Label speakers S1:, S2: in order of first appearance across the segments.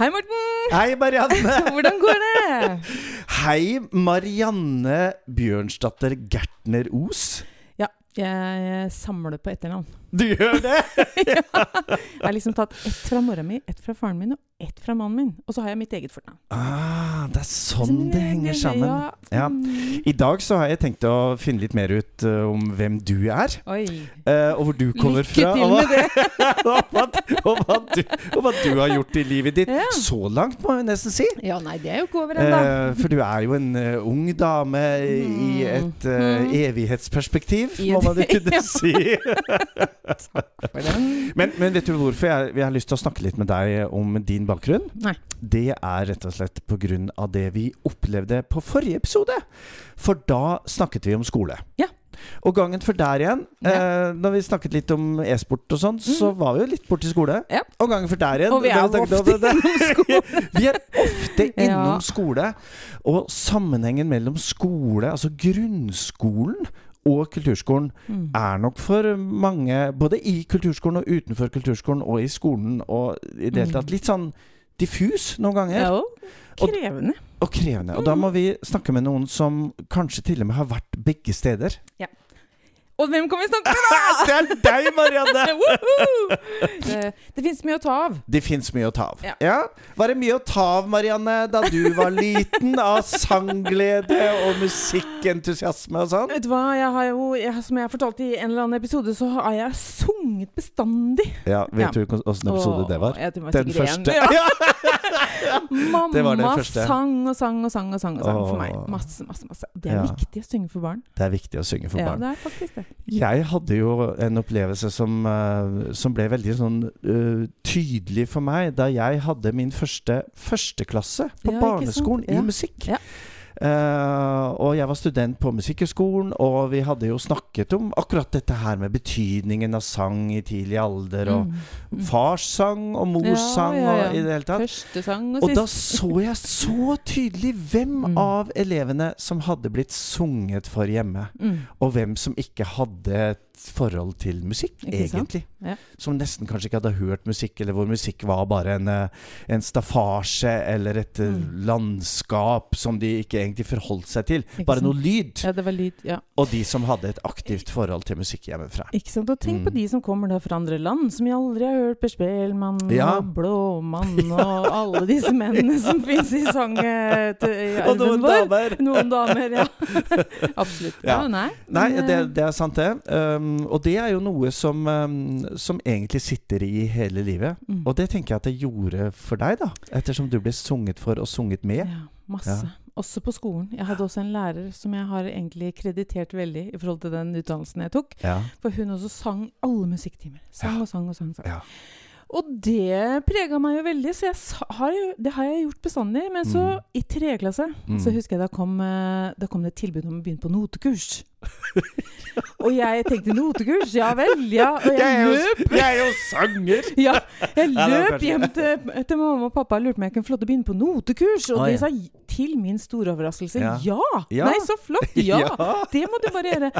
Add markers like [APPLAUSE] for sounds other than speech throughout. S1: Hei, Morten! [LAUGHS]
S2: Hei, Marianne!
S1: Hvordan går det?
S2: Hei, Marianne Bjørnsdatter Gertner Os.
S1: Ja, jeg samler på etternavn. [LAUGHS]
S2: Du gjør det?
S1: Jeg har liksom tatt ett fra mora mi, ett fra faren min og ett fra mannen min. Og så har jeg mitt eget fornavn.
S2: Ah, det er sånn det henger sammen.
S1: Ja.
S2: Ja.
S1: Mm.
S2: I dag så har jeg tenkt å finne litt mer ut eh, om hvem du er,
S1: Oi.
S2: eh, og hvor du kommer
S1: Lykke
S2: fra.
S1: til
S2: og hva-
S1: med det!
S2: [LAUGHS] og, hva, og, hva du, og hva du har gjort i livet ditt.
S1: Ja.
S2: Så langt, må jeg nesten si.
S1: Ja, nei, det er jo ikke over ennå.
S2: Eh, for du er jo en eh, ung dame i
S1: Mm.
S2: et eh,
S1: Mm.
S2: evighetsperspektiv,
S1: I
S2: må
S1: et-
S2: man
S1: [LAUGHS]
S2: jo
S1: Ja.
S2: kunne si.
S1: For den-
S2: Men, men vet du hvorfor jeg, jeg har lyst til å snakke litt med deg om din bakgrunn?
S1: Nei.
S2: Det er rett og slett pga. det vi opplevde på forrige episode. For da snakket vi om skole.
S1: Ja.
S2: Og gangen før der igjen, eh, når vi snakket litt om e-sport og sånn, så var vi jo litt borti skole.
S1: Mm. Ja.
S2: Og gangen før der igjen
S1: Og vi er
S2: da
S1: jo
S2: snakket
S1: ofte
S2: vi om det.
S1: innom skole.
S2: [LAUGHS] Vi er ofte
S1: Ja.
S2: innom skole. Og sammenhengen mellom skole, altså grunnskolen, og kulturskolen
S1: Mm.
S2: er nok for mange, både i kulturskolen og utenfor kulturskolen, og i skolen og i det hele tatt,
S1: Mm.
S2: litt sånn diffus noen
S1: Det
S2: ganger.
S1: er jo krevende.
S2: Og krevende. Og da må vi snakke med noen som kanskje til og med har vært begge
S1: [LAUGHS]
S2: steder.
S1: Og hvem kan vi snakke med,
S2: [LAUGHS] Det er deg,
S1: da?
S2: Marianne!
S1: Woohoo! det det fins mye å ta av.
S2: [LAUGHS] Det fins mye å ta av.
S1: Ja.
S2: Var det mye å ta av, Marianne, da du var liten? Av sangglede og musikkentusiasme og sånn?
S1: Vet du hva, jeg har jo, jeg, som jeg fortalte i en eller annen episode, så har jeg sunget bestandig. Ja.
S2: Ja, vet du åssen episode
S1: Og-
S2: det var?
S1: Jeg tror det var
S2: Den
S1: sikkert en.
S2: første.
S1: Ja.
S2: [LAUGHS]
S1: [LAUGHS]
S2: Ja.
S1: Mamma
S2: Det var den første.
S1: sang og sang og sang og sang og sang for
S2: Åh.
S1: meg. Masse, masse, masse. Det er
S2: Ja.
S1: viktig å synge for barn.
S2: Det er viktig å synge for
S1: ja,
S2: barn.
S1: det er faktisk det.
S2: Jeg hadde jo en opplevelse som, eh, som ble veldig sånn eh, tydelig for meg da jeg hadde min første førsteklasse på
S1: Ja, ikke
S2: barneskolen
S1: sant? Ja.
S2: i musikk.
S1: Ja.
S2: Eh, og jeg var student på Musikkhøgskolen, og vi hadde jo snakket om akkurat dette her med betydningen av sang i tidlig alder, og
S1: Mm. Mm.
S2: fars sang og mors
S1: Ja,
S2: sang
S1: ja, ja.
S2: og i det hele tatt.
S1: Første sang og
S2: Og da
S1: sist.
S2: så jeg så tydelig hvem
S1: Mm.
S2: av elevene som hadde blitt sunget for hjemme
S1: Mm.
S2: og hvem som ikke hadde et forhold til musikk,
S1: Ikke sant?
S2: egentlig.
S1: Ja.
S2: Som nesten kanskje ikke hadde hørt musikk, eller hvor musikk var bare en, eh, en staffasje eller et eh,
S1: Mm.
S2: landskap som de ikke egentlig forholdt seg til.
S1: Ikke
S2: Bare
S1: sant?
S2: noe lyd.
S1: Ja, det var lyd. Ja.
S2: Og de som hadde et aktivt forhold til musikk hjemmefra.
S1: Ikke sant? Og tenk på
S2: Mm.
S1: de som kommer da fra andre land, som jeg aldri har hørt Per Spelmann
S2: Ja.
S1: og Blåmann [LAUGHS] og alle disse mennene som [LAUGHS] fins i sang eh, til- i
S2: Og noen
S1: arven vår.
S2: damer!
S1: Noen damer, ja. Absolutt. Ja,
S2: Ja.
S1: nei.
S2: Nei,
S1: men,
S2: det,
S1: eh,
S2: det er sant, det. Um, og det er jo noe som, um, som egentlig sitter i hele livet.
S1: mm.
S2: Og det tenker jeg at det gjorde for deg, da. Ettersom du ble sunget for og sunget med.
S1: Ja, masse.
S2: Ja.
S1: Også på skolen. Jeg hadde også en lærer som jeg har egentlig kreditert veldig i forhold til den utdannelsen jeg tok.
S2: Ja.
S1: For hun også sang alle musikktimer. Sang og sang og sang. sang.
S2: Ja.
S1: Og det prega meg jo veldig, så jeg sa- har jo, det har jeg gjort bestandig. Men så,
S2: Mm.
S1: i tredje klasse,
S2: Mm.
S1: så husker jeg da kom, eh, da kom det et tilbud om å begynne på
S2: [LAUGHS]
S1: notekurs. og jeg tenkte notekurs, ja vel, ja. Og jeg løp
S2: [LAUGHS] jeg er jo sanger!
S1: Ja, jeg
S2: Ja, det var
S1: løp
S2: kanskje-
S1: hjem til, til mamma og pappa og lurte på om jeg kunne få lov til å begynne på notekurs. Og
S2: Oi.
S1: de sa j- til min store overraskelse ja.
S2: Ja. Ja.
S1: Nei, så flott! [LAUGHS]
S2: [LAUGHS]
S1: Ja! Det må du bare gjøre.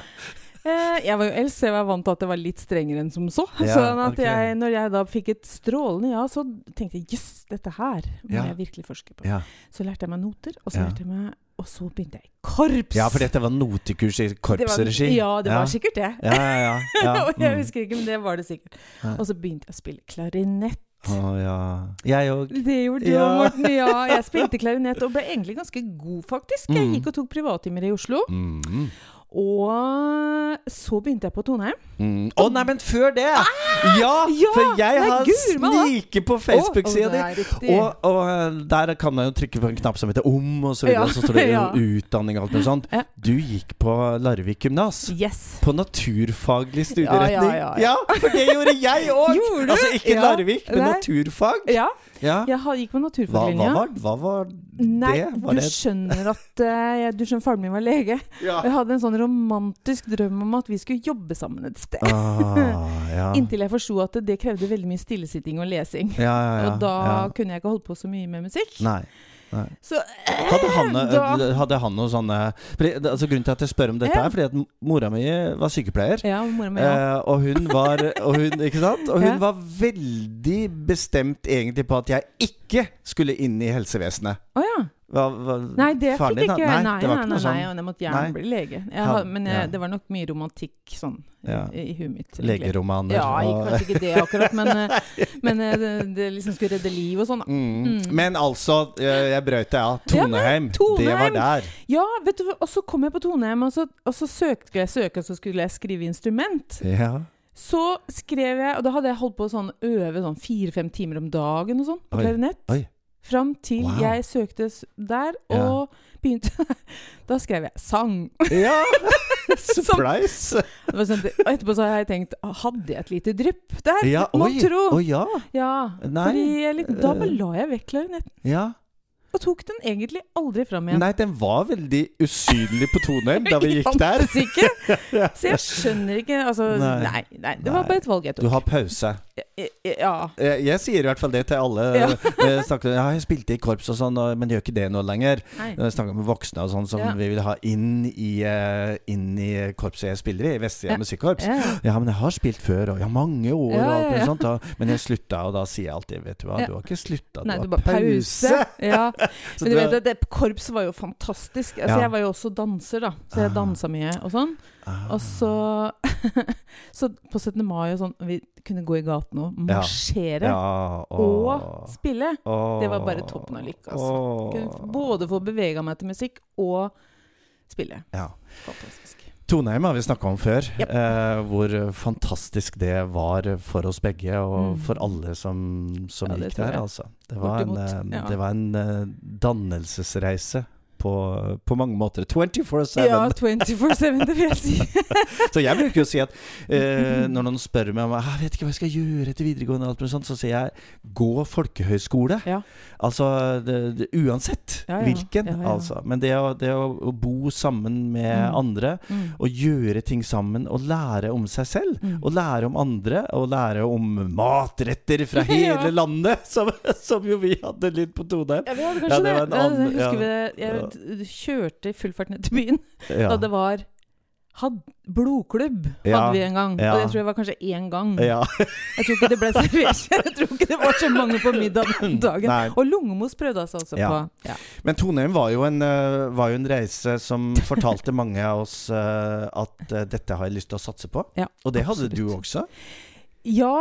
S1: Eh, jeg var jo eldst, så jeg var vant til at det var litt strengere enn som så.
S2: Ja,
S1: [LAUGHS] sånn at
S2: ok.
S1: jeg, når jeg da fikk et strålende ja, så tenkte jeg jøss, dette her må
S2: Ja.
S1: jeg virkelig forske på.
S2: Ja.
S1: Så lærte jeg meg noter, og så,
S2: Ja.
S1: lærte jeg meg, og så begynte jeg i korps!
S2: for dette var notekurs i
S1: Det var-
S2: korpsregi.
S1: Ja, det var sikkert det.
S2: Ja,
S1: [LAUGHS]
S2: ja, ja. ja.
S1: og jeg
S2: mm.
S1: husker ikke, men det var det sikkert.
S2: Ja.
S1: Og så begynte jeg å spille klarinett.
S2: Mm. Å, ja. Jeg òg.
S1: Det gjorde du
S2: Ja.
S1: òg, Morten. Ja, jeg spilte klarinett og ble egentlig ganske god, faktisk. Jeg
S2: Mm.
S1: gikk og tok privattimer i Oslo.
S2: Mm.
S1: Og så begynte jeg på Toneheim.
S2: Mm. Å, nei, men før det! Ja,
S1: Ah! Ja,
S2: for jeg
S1: nei,
S2: har
S1: gud, men da-
S2: sniket på Facebook-sida di.
S1: di.
S2: Og, og eh, der kan man jo trykke på en knapp som heter 'om', og så, videre,
S1: Ja,
S2: og så står det
S1: [LAUGHS]
S2: jo
S1: ja.
S2: utdanning og alt mulig sånt.
S1: Ja.
S2: Du gikk på Larvik gymnas.
S1: Yes.
S2: På naturfaglig studieretning.
S1: Ja, ja, ja, ja.
S2: for det gjorde jeg
S1: [LAUGHS]
S2: òg!
S1: Gjorde du?
S2: [LAUGHS] Altså ikke
S1: Ja.
S2: Larvik, men
S1: Nei.
S2: naturfag.
S1: Ja,
S2: Ja.
S1: jeg har- gikk på
S2: Hva, hva,
S1: naturfaglinja.
S2: var, hva var det?
S1: Nei,
S2: var
S1: du
S2: det?
S1: skjønner at eh, jeg- Du skjønner faren min var lege. Og jeg hadde en sånn romantisk drøm om at vi skulle jobbe sammen et sted.
S2: Ah,
S1: [LAUGHS]
S2: ja.
S1: Inntil jeg forsto at det krevde veldig mye stillesitting og lesing.
S2: ja, ja, ja,
S1: Og da
S2: ja.
S1: kunne jeg ikke holde på så mye med musikk.
S2: Nei. Nei.
S1: Så eh,
S2: Hadde
S1: [LAUGHS]
S2: han,
S1: Da-
S2: hadde han noen sånne fordi, altså Grunnen til at jeg spør om dette,
S1: Ja.
S2: er fordi at mora mi var sykepleier.
S1: Ja, mora mi ja.
S2: Eh, og hun var og hun, Ikke sant?
S1: [LAUGHS]
S2: Og hun
S1: Ja.
S2: var veldig bestemt egentlig på at jeg ikke skulle inn i helsevesenet.
S1: Å ja.
S2: Hva, hva,
S1: Nei, det
S2: Eh, faren
S1: fikk
S2: din, da?
S1: ikke jeg. Nei,
S2: det
S1: nei,
S2: var
S1: nei, nei,
S2: ikke noe sånn
S1: og jeg måtte
S2: Nei.
S1: gjerne bli lege. Jeg,
S2: Han-
S1: har- men jeg,
S2: ja.
S1: det var nok mye romantikk sånn
S2: Ja.
S1: i, i huet mitt. egentlig.
S2: legeromaner
S1: Ja, jeg-
S2: og
S1: kanskje ikke det akkurat, men,
S2: [LAUGHS]
S1: eh, men eh, det, det liksom skulle redde liv og sånn. da.
S2: mm.
S1: Mm.
S2: Men altså, eh, jeg brøt det av.
S1: Ja,
S2: Toneheim, det var
S1: Toneheim.
S2: der.
S1: Ja, vet du, hva, og så kom jeg på Toneheim, og så, og så søkte jeg søke, og så skulle jeg skrive instrument.
S2: Ja.
S1: Så skrev jeg, og da hadde jeg holdt på å sånn, øve sånn fire-fem timer om dagen og sånn, på
S2: Oi,
S1: klarinett.
S2: oi.
S1: Fram til
S2: Wow.
S1: jeg søkte s- der,
S2: Ja.
S1: og begynte [LAUGHS] Da skrev jeg sang.
S2: ja.
S1: [LAUGHS] Som
S2: Surprise!
S1: Det var sånn, og etterpå så har jeg tenkt Hadde jeg et lite drypp der?
S2: Ja,
S1: Må
S2: oi,
S1: tro!
S2: Å ja.
S1: Ja,
S2: Nei,
S1: fordi jeg litt, da bare
S2: eh.
S1: la jeg vekk klarinetten.
S2: ja.
S1: Og tok den egentlig aldri fram igjen.
S2: Nei, den var veldig usynlig på Toneheim
S1: [LAUGHS]
S2: da vi gikk der.
S1: Fantes
S2: [LAUGHS]
S1: ikke. Så jeg skjønner ikke altså, nei.
S2: Nei.
S1: nei, Det var
S2: Nei.
S1: bare et valg jeg
S2: Du
S1: tok.
S2: har pause.
S1: Ja.
S2: Jeg, jeg sier i hvert fall det til alle.
S1: Ja.
S2: Jeg, snakker, ja, jeg spilte i korps og sånn, og- men gjør ikke det nå lenger.
S1: Nei.
S2: Jeg snakker med voksne og sånn som
S1: Ja.
S2: vi vil ha inn i, eh, inn i korpset jeg spiller i, Vestsida
S1: Ja.
S2: musikkorps.
S1: Ja.
S2: Ja, men jeg har spilt før, og jeg har mange år,
S1: Ja,
S2: og alt
S1: ja,
S2: mulig
S1: ja.
S2: sånt. Og, men jeg slutta, og da sier jeg alltid Vet du hva,
S1: Ja.
S2: du har ikke slutta, du
S1: Nei,
S2: har
S1: du bare pause. Ja.
S2: [LAUGHS] Så
S1: Men du
S2: du
S1: vet at det, korps var jo fantastisk. Altså,
S2: Ja.
S1: Jeg var jo også danser, da. Så jeg
S2: Ah.
S1: dansa mye og sånn.
S2: Ah.
S1: Og så [LAUGHS] Så på 17. mai og sånn Vi kunne gå i gaten og
S2: Ja.
S1: marsjere.
S2: ja,
S1: Og spille.
S2: åh,
S1: det var bare toppen av lykke, altså.
S2: åh.
S1: Kunne både få bevega meg til musikk og spille.
S2: ja.
S1: Fantastisk.
S2: Toneheim har vi snakka om før,
S1: Japp.
S2: eh, hvor fantastisk det var for oss begge,
S1: Mm.
S2: og for alle som, som
S1: Ja, det
S2: gikk
S1: tror
S2: der,
S1: jeg.
S2: altså. Det var, en,
S1: Bortimot,
S2: eh,
S1: ja.
S2: det var en eh, dannelsesreise på, på mange måter. 24-7!
S1: Ja, 24-7, det vil jeg [LAUGHS] si.
S2: [LAUGHS] Så jeg bruker jo å si at eh, når noen spør meg om jeg vet ikke hva jeg skal gjøre etter videregående, og alt mulig sånt, så sier jeg gå folkehøyskole.
S1: Ja.
S2: Altså det, det, uansett
S1: Ja, ja.
S2: hvilken,
S1: Ja, ja.
S2: altså. Men det å, det å, å bo sammen med
S1: Mm.
S2: andre,
S1: Mm.
S2: å gjøre ting sammen, og lære om seg selv.
S1: Mm.
S2: Å lære om andre, og lære om matretter
S1: [LAUGHS]
S2: fra
S1: Ja.
S2: hele landet, som, som jo vi hadde litt på Toneheim.
S1: Ja, vi hadde
S2: Ja,
S1: kanskje
S2: det
S1: det.
S2: var en
S1: Ja, Jeg
S2: annen-
S1: husker
S2: ja.
S1: vi jeg kjørte i full fart ned til byen
S2: Ja.
S1: da det var had, Blodklubb hadde
S2: Ja.
S1: vi en gang.
S2: Ja.
S1: Og jeg tror det var kanskje én gang.
S2: ja.
S1: Jeg tror ikke det ble servert. [LAUGHS] Jeg tror ikke det var så mange på middag den dagen.
S2: Nei.
S1: Og lungemos prøvde altså også
S2: Ja.
S1: på. Ja.
S2: Men Toneheim var jo, en, eh, var jo en reise
S1: [LAUGHS]
S2: som fortalte mange av oss eh, at eh, dette har jeg lyst til å satse på.
S1: Ja,
S2: og det hadde
S1: absolutt.
S2: du også.
S1: Ja,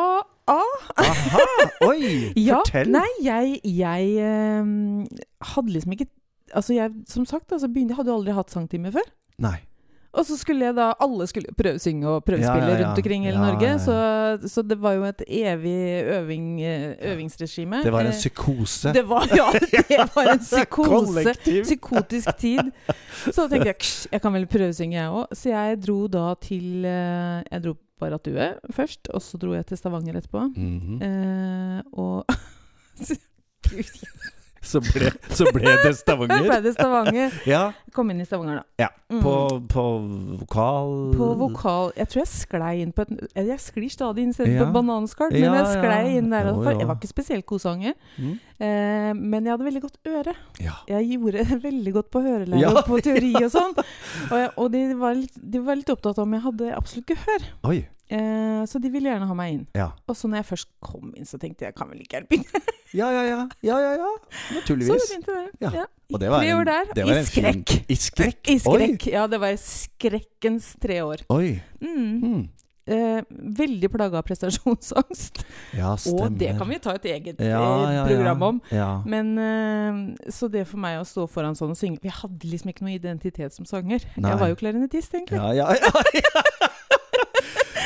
S1: ah,
S2: Aha! Oi!
S1: [LAUGHS] ja.
S2: Fortell.
S1: Nei, jeg, jeg ehm, hadde liksom ikke Altså, jeg, som sagt, altså, begynte, jeg hadde jo aldri hatt sangtime før.
S2: Nei.
S1: Og så skulle jeg da Alle skulle prøvesynge og prøvespille
S2: Ja, ja, ja.
S1: rundt omkring i hele
S2: Ja,
S1: Norge.
S2: ja, ja.
S1: Så, så det var jo et evig øving, eh, øvingsregime.
S2: Det var en
S1: Eh,
S2: psykose.
S1: Det var,
S2: [LAUGHS]
S1: ja, det var en psykose.
S2: Kollektiv.
S1: psykotisk tid. Så da tenkte jeg "Ksh, jeg kan vel prøvesynge, jeg òg. Så jeg dro da til eh, Jeg dro på Ratue først, og så dro jeg til Stavanger etterpå.
S2: Mhm.
S1: Eh, og [LAUGHS] Gud,
S2: Så, ble, så ble det
S1: jeg ble [LAUGHS]
S2: Stavanger.
S1: det Stavanger.
S2: Ja,
S1: Kom inn i Stavanger, da.
S2: Ja,
S1: Mm.
S2: på, på vokal
S1: På vokal Jeg tror jeg sklei inn på et Jeg sklir stadig inn stedet
S2: Ja.
S1: på bananskall,
S2: Ja,
S1: men jeg sklei
S2: ja.
S1: inn der.
S2: Jo,
S1: også, for
S2: jo.
S1: Jeg var ikke spesielt god sanger,
S2: Mm.
S1: eh, men jeg hadde veldig godt øre.
S2: Ja.
S1: Jeg gjorde [LAUGHS] veldig godt på hørelære
S2: Ja.
S1: og på teori og sånn. Og, jeg, og de, var litt, de var litt opptatt av om jeg hadde absolutt gehør.
S2: Oi.
S1: Eh, så de ville gjerne ha meg inn.
S2: Ja.
S1: Og så når jeg først kom inn, så tenkte jeg jeg kan vel ikke hjelpe inn. [LAUGHS]
S2: Ja, ja, ja. ja, ja, ja.
S1: Så det
S2: Naturligvis.
S1: begynte det.
S2: Ja.
S1: Ja.
S2: Og det var
S1: tre
S2: en-
S1: år der.
S2: det var
S1: I
S2: en fin-
S1: skrekk.
S2: I skrekk?
S1: I skrekk. Ja, det var i skrekkens tre år.
S2: Oi. Oi.
S1: Mm.
S2: Mm.
S1: Eh, veldig plaga av prestasjonsangst.
S2: Ja, stemmer.
S1: Og det kan vi ta et eget eh,
S2: Ja, ja,
S1: program om.
S2: Ja. ja.
S1: Men eh, Så det for meg å stå foran sånn og synge Jeg hadde liksom ikke noe identitet som sanger.
S2: Nei.
S1: Jeg var jo klarinettist, egentlig.
S2: Ja, ja, ja, ja.
S1: [LAUGHS]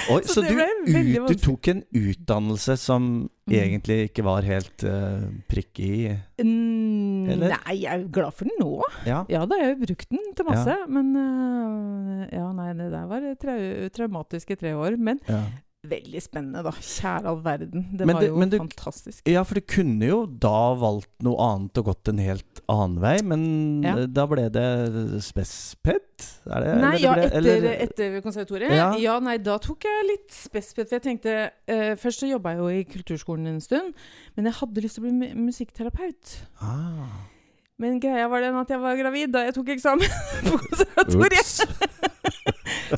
S2: Oi,
S1: Så
S2: så,
S1: det
S2: du,
S1: ble veldig
S2: ut, du tok en utdannelse som egentlig ikke var helt eh, prikk i
S1: Mm,
S2: Eller?
S1: Nei, jeg er jo glad for den nå.
S2: Ja.
S1: Ja da, jeg har jo brukt den til masse. Men øh, ja, nei, det der var trau traumatiske tre år. Men
S2: ja.
S1: veldig spennende, da. Kjære all verden. Det
S2: Men
S1: var
S2: det-
S1: jo
S2: men du-
S1: fantastisk.
S2: ja, for du kunne jo da valgt noe annet og gått en helt annen vei, men
S1: Ja.
S2: eh, da ble det spesped? Er det,
S1: Nei,
S2: eller Eh, det
S1: ja,
S2: ble-
S1: etter,
S2: eller-
S1: etter konservatoriet. Ja.
S2: Ja.
S1: nei, da tok jeg litt spespet. For jeg tenkte eh, Først så jobba jeg jo i kulturskolen en stund, men jeg hadde lyst til å bli mu- musikkterapeut.
S2: ah.
S1: Men greia var den at jeg var gravid da jeg tok eksamen [LAUGHS] på konservatoriet.
S2: Ups.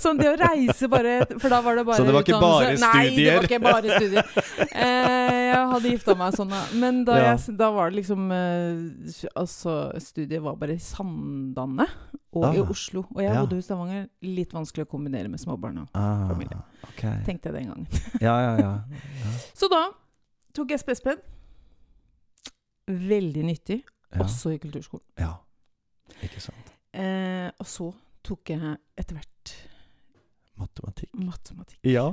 S1: Sånn det å reise bare For da var det bare
S2: Så det var ikke bare
S1: utdannelse. Nei, det
S2: studier?
S1: var ikke bare studier. Eh, jeg hadde gifta meg sånn, da. Men da,
S2: Ja.
S1: jeg, da var det liksom eh, Altså, studiet var bare i Sandane og i
S2: Ah.
S1: Oslo. Og jeg
S2: Ja.
S1: bodde i Stavanger. Litt vanskelig å kombinere med småbarn òg,
S2: Ah,
S1: Familie.
S2: ok.
S1: tenkte jeg den gangen.
S2: Ja, ja, ja.
S1: Så da tok jeg spespenn. Veldig nyttig,
S2: Ja.
S1: også i kulturskolen.
S2: ja. Ikke sant.
S1: Eh, og så tok jeg etter hvert
S2: Matematikk.
S1: [LAUGHS] matematikk. Mm.
S2: Ja.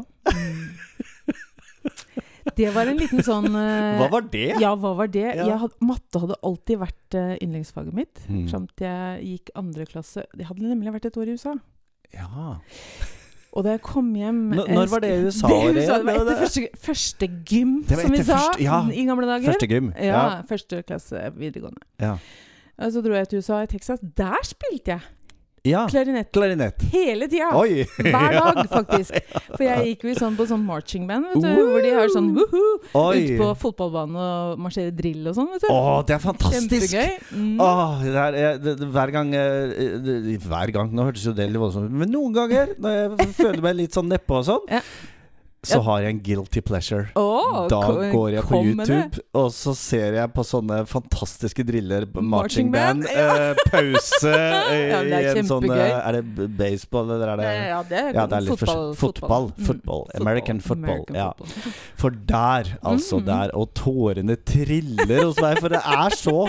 S1: Det var en liten
S2: [LAUGHS]
S1: sånn eh,
S2: Hva var det?
S1: Ja, hva var det?
S2: Ja.
S1: Jeg had, matte hadde alltid vært eh, yndlingsfaget mitt.
S2: Mm.
S1: Fram til jeg gikk andre klasse. Det hadde nemlig vært et år i USA.
S2: Ja.
S1: Og da jeg kom hjem
S2: Nå-
S1: jeg
S2: når
S1: husker-
S2: var det i
S1: [LAUGHS]
S2: USA,
S1: Det, det
S2: Maria?
S1: var
S2: Det-
S1: etter første, første gym,
S2: Det var
S1: som vi
S2: etter
S1: sa
S2: første- ja.
S1: i gamle dager.
S2: Første gym.
S1: ja, første klasse videregående.
S2: Ja.
S1: Og så dro jeg til USA, i Texas. Der spilte jeg
S2: ja.
S1: klarinett
S2: Klarinett.
S1: hele tida!
S2: Ah. Oi! [LAUGHS]
S1: Hver dag, faktisk. For jeg gikk jo sånn på sånn marching band, vet du.
S2: Woo!
S1: Hvor de har sånn woohoo ute
S2: Oi!
S1: på fotballbanen og marsjerer drill og sånn, vet du.
S2: Å, det er fantastisk! Ah,
S1: Kjempegøy. Mm.
S2: Åh, det her er, det, det, hver gang eh, det- Hver gang, nå hørtes jo det litt voldsomt ut, men noen ganger, når jeg føler meg litt sånn nedpå og sånn,
S1: Ja.
S2: så har jeg en guilty pleasure.
S1: Å,
S2: da
S1: ko-
S2: går jeg på
S1: kom med det.
S2: YouTube, og så ser jeg på sånne fantastiske driller. Marching,
S1: Marching
S2: band,
S1: band, ja.
S2: eh, pause eh,
S1: [LAUGHS] Ja, men det er
S2: i en sånn eh,
S1: kjempegøy.
S2: Er det b- baseball, eller er det
S1: Eh, Ja, det er,
S2: Ja, det er litt
S1: fotball,
S2: forskjell- fotball,
S1: Mm.
S2: football, American football, ja.
S1: football.
S2: For der, altså
S1: Mm.
S2: der, og tårene triller hos meg, for det
S1: [LAUGHS]
S2: er så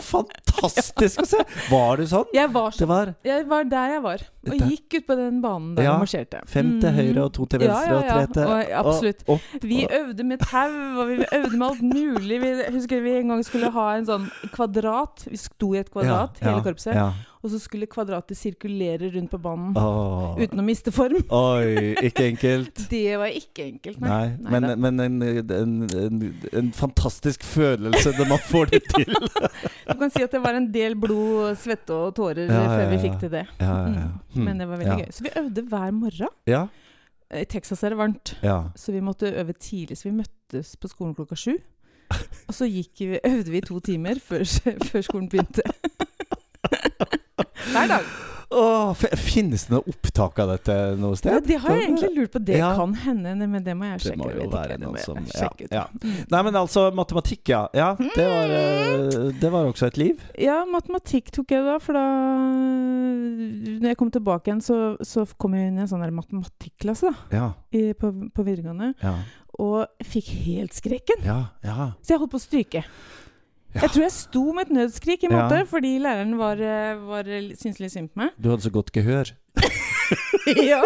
S2: fantastisk å se! Var du sånn?
S1: Jeg, var, så-
S2: Det var
S1: jeg var der jeg var, og
S2: Der.
S1: gikk ut på den banen der
S2: Ja.
S1: og marsjerte.
S2: fem til
S1: Mm.
S2: høyre og to til venstre
S1: ja, ja, ja.
S2: og tre til
S1: Og, absolutt.
S2: og opp.
S1: Vi øvde med tau, og vi øvde med alt mulig. Vi, jeg husker vi en gang skulle ha en sånn kvadrat. Vi sto i et kvadrat,
S2: Ja,
S1: hele
S2: ja,
S1: korpset.
S2: Ja. Ah.
S1: Og så skulle kvadratet sirkulere rundt på banen
S2: Åh.
S1: uten å miste form.
S2: Oi, ikke enkelt.
S1: Det var ikke enkelt, [LAUGHS] nei.
S2: Nei,
S1: Nei
S2: men,
S1: da.
S2: men en, en, en, en fantastisk følelse når man får det
S1: [LAUGHS]
S2: til.
S1: Du kan si at det var en del blod, svette og tårer
S2: Ja, ja,
S1: før vi
S2: ja. Hmm.
S1: fikk til det.
S2: Ja, Hm.
S1: Mm. Men det var veldig gøy. Så vi øvde hver morgen. Eh,
S2: Ja,
S1: I Texas er det varmt,
S2: ja.
S1: så vi måtte øve tidlig. Så vi møttes på skolen klokka sju. Og så gikk vi, øvde vi i to timer før, før skolen
S2: [LAUGHS]
S1: begynte. Hver dag.
S2: Åh, f- finnes det noe opptak av dette noe sted?
S1: Ja, det har jeg egentlig lurt på. Det
S2: Ja.
S1: kan hende, nei, men det må jeg
S2: Det
S1: sjekke.
S2: må
S1: Jeg
S2: jo
S1: vet ikke,
S2: være
S1: det må
S2: noen
S1: jeg
S2: som ja,
S1: sjekke ut. Mm.
S2: ja. Nei, men altså matematikk, ja. ja det, var, eh, det var også et liv.
S1: Ja, matematikk tok jeg da, for da Når jeg kom tilbake igjen, så, så kom jeg inn i en sånn der matematikklasse da,
S2: Ja,
S1: i, på, på videregående.
S2: ja,
S1: Og fikk helt skrekken.
S2: ja. ja.
S1: Så jeg holdt på å stryke.
S2: Ja.
S1: Jeg tror jeg sto med et nødskrik i
S2: Ja.
S1: matte, fordi læreren var, eh, var, eh, syntes litt synd på meg.
S2: Du hadde så godt gehør. [LAUGHS]
S1: ja.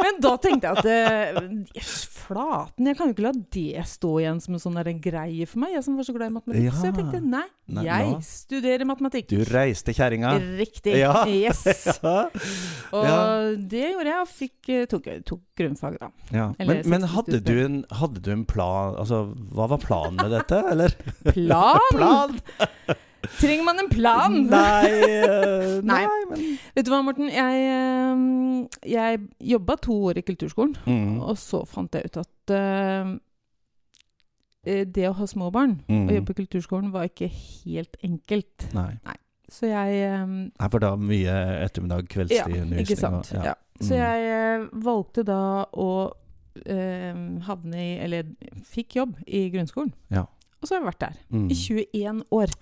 S1: Men da tenkte jeg at eh, jøss, Flaten, jeg kan jo ikke la det stå igjen som en sånn der greie for meg, jeg som var så glad i matematikk. Så jeg
S2: Ja.
S1: tenkte nei,
S2: Nei,
S1: jeg
S2: nå-
S1: studerer matematikk.
S2: Du reiste kjerringa.
S1: Riktig.
S2: Ja. [LAUGHS]
S1: Yes.
S2: Ja.
S1: Og
S2: Ja.
S1: det gjorde jeg, og fikk, eh, tok, tok grunnfag, da.
S2: Ja. Men,
S1: Eller
S2: men
S1: 60
S2: hadde, du en, hadde du en plan Altså, hva var planen med dette,
S1: [LAUGHS]
S2: eller?
S1: Plan!
S2: [LAUGHS] Plan?
S1: Trenger man en plan?
S2: [LAUGHS] Nei, eh,
S1: [LAUGHS] Nei.
S2: men
S1: Vet du hva, Morten? Jeg, eh, jeg jobba to år i kulturskolen,
S2: Mm.
S1: og så fant jeg ut at eh, eh, det å ha små barn
S2: Mm.
S1: og jobbe i kulturskolen var ikke helt enkelt.
S2: Nei.
S1: Så jeg eh,
S2: Nei, for da mye ettermiddag,
S1: Ja,
S2: kveldstid, undervisning
S1: ikke sant.
S2: og- Mm.
S1: Ja. Så jeg eh, valgte da å eh, havne i Eller fikk jobb i grunnskolen.
S2: Ja.
S1: Og så har jeg vært der
S2: Mm. Ah.
S1: i 21 år.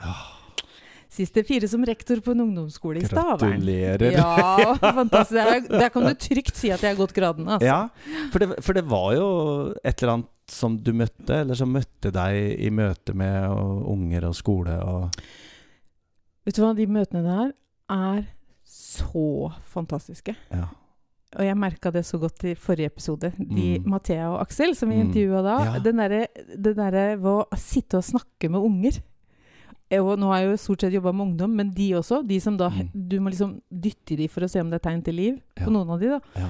S1: Siste fire som rektor på en ungdomsskole i Stavern.
S2: Gratulerer. Ja.
S1: Ja,
S2: [LAUGHS]
S1: fantastisk. Der, der kan du trygt si at jeg har gått graden. Altså.
S2: for, det, for det var jo et eller annet som du møtte, eller som møtte deg i møte med og unger og skole og
S1: Vet du hva, de møtene der er så fantastiske.
S2: Ja.
S1: Og jeg merka det så godt i forrige episode. De
S2: Mm.
S1: Mathea og Aksel som vi
S2: Mm.
S1: intervjua da.
S2: Ja.
S1: Den derre der, ved å sitte og snakke med unger. Eh, Og nå har jeg jo stort sett jobba med ungdom, men de også. De som da,
S2: Mm.
S1: Du må liksom dytte de for å se om det er tegn til liv
S2: Ja.
S1: på noen av de, da. [LAUGHS]
S2: Ja.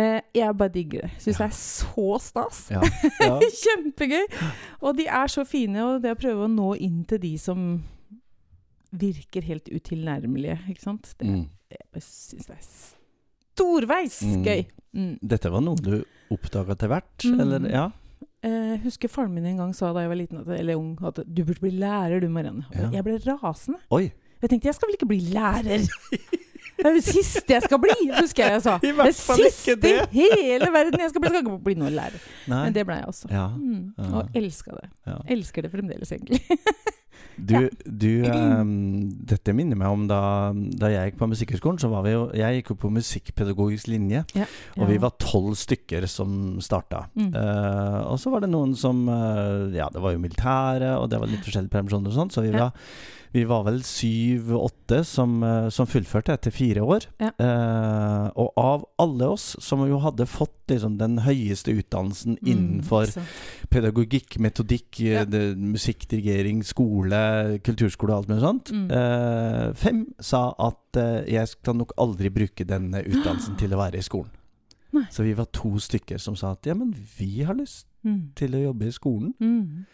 S1: Eh, jeg bare digger det. Syns
S2: Ja.
S1: det er så stas.
S2: Ja. ja.
S1: Kjempegøy! Og de er så fine, og det å prøve å nå inn til de som virker helt utilnærmelige, ikke sant. Det,
S2: Mm.
S1: Jeg syns det er storveis
S2: Mm.
S1: gøy! Mm.
S2: Dette var noe du oppdaga til hvert,
S1: Mm.
S2: eller? Ja.
S1: Eh, husker faren min en gang sa da jeg var liten, at, eller ung, at 'du burde bli lærer, du Marianne'. Og
S2: Ja.
S1: Jeg ble rasende.
S2: Oi.
S1: Jeg tenkte jeg skal vel ikke bli lærer? Det er det siste jeg skal bli, husker jeg jeg sa.
S2: [LAUGHS] I hvert fall
S1: det
S2: ikke
S1: siste i
S2: det.
S1: hele verden jeg skal bli. Jeg skal ikke bli noen lærer.
S2: Nei.
S1: Men det ble jeg også.
S2: Ja.
S1: Mm. Og elska det.
S2: Ja.
S1: Elsker det fremdeles, egentlig.
S2: Du, du ehm, dette minner meg om da, da jeg gikk på Musikkhøgskolen. Så var vi jo Jeg gikk jo på musikkpedagogisk linje, og vi
S1: Ja.
S2: var tolv stykker som starta.
S1: Mm.
S2: Eh, og så var det noen som eh, Ja, det var jo militære, og det var litt forskjellige permisjoner og sånn, så vi
S1: Ja.
S2: var, vi var vel syv-åtte som, eh, som fullførte etter fire år.
S1: Ja.
S2: Eh, og av alle oss som jo hadde fått liksom, den høyeste utdannelsen innenfor
S1: Mm, så-
S2: pedagogikk, metodikk,
S1: Ja.
S2: eh, det, musikk, dirigering, skole, kulturskole og alt mulig sånt.
S1: Mm.
S2: Eh, fem sa at eh, jeg skal nok aldri bruke denne utdannelsen til å være i skolen.
S1: Nei.
S2: Så vi var to stykker som sa at ja, men vi har lyst
S1: Mm.
S2: til å jobbe i skolen.
S1: Mm.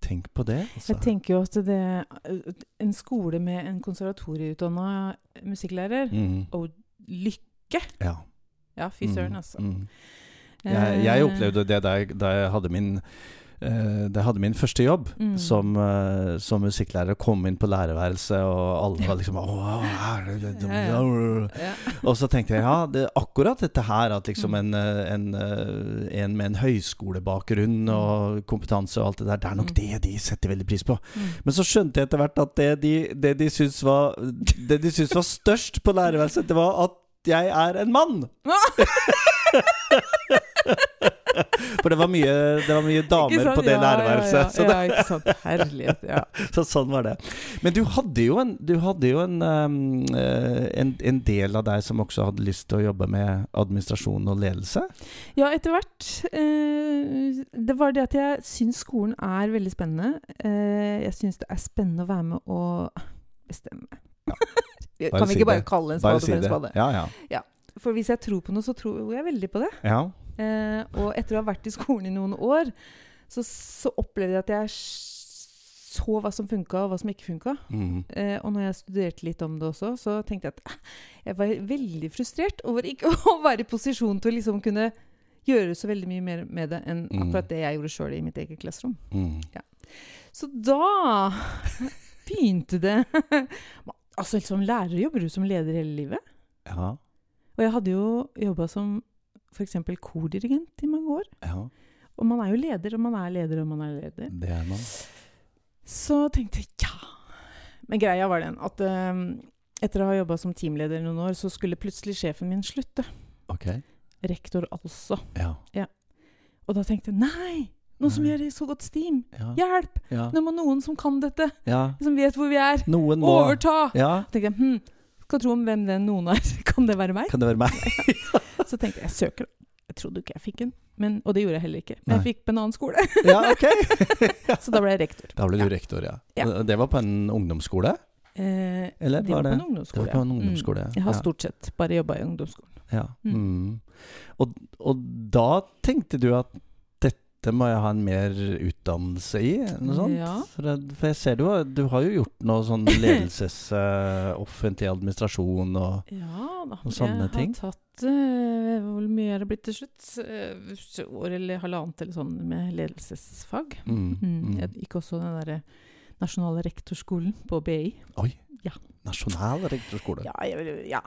S2: Tenk på det. Altså.
S1: Jeg tenker jo at det En skole med en konservatorieutdanna musikklærer
S2: Mm,
S1: Og lykke!
S2: ja.
S1: Ja, fy søren,
S2: Mm,
S1: altså. Eh,
S2: Mm. Jeg, jeg opplevde det da jeg, da jeg hadde min eh, da jeg hadde min første jobb
S1: Mm.
S2: som, eh, som musikklærer, kom inn på lærerværelset, og alle var liksom «Åh, er det- det-
S1: [LAUGHS]
S2: det- [LAUGHS]
S1: ja.
S2: Og så tenkte jeg ja, det, akkurat dette her, at liksom en, eh, en, eh, en med en høyskolebakgrunn og kompetanse og alt det der, det er nok det de setter veldig pris på.
S1: Mm.
S2: Men så skjønte jeg etter hvert at det de, det de syntes var Det de syntes var størst på lærerværelset, det var at jeg er en mann! For det var mye, det var mye
S1: [LAUGHS] Ikke
S2: damer
S1: sant?
S2: på det
S1: Ja,
S2: lærerværelset.
S1: Ja,
S2: Så,
S1: ja, ja, ikke sant. Herlighet. Ja.
S2: det, så sånn var det. Men du hadde jo en, du hadde jo en, ehm, eh, en, en del av deg som også hadde lyst til å jobbe med administrasjon og ledelse.
S1: Ja, etter hvert. Eh, det var det at jeg syns skolen er veldig spennende. Eh, jeg syns det er spennende å være med og bestemme. [LAUGHS] kan vi
S2: si
S1: ikke bare
S2: det.
S1: kalle en
S2: Bare
S1: spade
S2: si
S1: for en spade?
S2: det. Ja, ja.
S1: For hvis jeg tror på noe, så tror jeg veldig på det.
S2: ja.
S1: Eh, og etter å ha vært i skolen i noen år, så, så opplevde jeg at jeg s- så hva som funka, og hva som ikke funka.
S2: Mm.
S1: Eh, og når jeg studerte litt om det også, så tenkte jeg at eh, jeg var veldig frustrert over ikke [LAUGHS] å være i posisjon til å liksom kunne gjøre så veldig mye mer med det enn
S2: Mm.
S1: akkurat det jeg gjorde sjøl i mitt eget klasserom.
S2: Mm.
S1: Så da [LAUGHS] begynte det [LAUGHS] Altså, som lærer jobber du som leder hele livet.
S2: Ja.
S1: Og jeg hadde jo jobba som f.eks. kordirigent i mange år.
S2: Ja.
S1: Og man er jo leder, og man er leder, og man er leder.
S2: Det er man.
S1: Så tenkte jeg ja. Men greia var den at eh, etter å ha jobba som teamleder i noen år, så skulle plutselig sjefen min slutte.
S2: Ok.
S1: Rektor altså.
S2: Ja.
S1: Og da tenkte jeg nei! Noen som
S2: Nei.
S1: gjør det i så godt steam!
S2: Ja.
S1: Hjelp!
S2: ja.
S1: Nå må noen som kan dette,
S2: ja.
S1: som vet hvor vi er,
S2: Noen må
S1: overta!
S2: Ja.
S1: Så tenkte jeg hm, skal tro om hvem den noen er. [LAUGHS] Kan det være meg?
S2: Kan det være meg?
S1: Så tenkte jeg jeg søker. Jeg trodde ikke jeg fikk den, men, og det gjorde jeg heller ikke. Men jeg
S2: Nei.
S1: fikk på en annen skole,
S2: Ja, ok.
S1: [LAUGHS]
S2: [LAUGHS]
S1: så da ble jeg rektor.
S2: Da ble du rektor, ja.
S1: Ja.
S2: Det var på en ungdomsskole?
S1: Eh,
S2: Eller
S1: det
S2: var
S1: var på
S2: det-
S1: en ungdomsskole.
S2: det var på
S1: ja.
S2: en ungdomsskole,
S1: Mm. Jeg har
S2: ja.
S1: stort sett bare jobba i ungdomsskolen.
S2: Ja.
S1: Mm.
S2: Mm. Og, og da tenkte du at dette må jeg ha en mer utdannelse i? Noe sånt?
S1: Ja.
S2: For, jeg- for jeg ser du, har- du har jo gjort noe
S1: [COUGHS]
S2: sånn ledelses... eh, offentlig administrasjon og
S1: Ja da.
S2: Og sånne
S1: jeg
S2: ting.
S1: har tatt eh, Hvor mye er det blitt til slutt? Eh, s- år eller halvannet eller sånn med ledelsesfag.
S2: mm,
S1: Mm.
S2: mm.
S1: Jeg gikk også den derre nasjonale rektorskolen på BI.
S2: Nasjonal rektorskole.
S1: Ja, jeg vil
S2: [LAUGHS]
S1: Ja.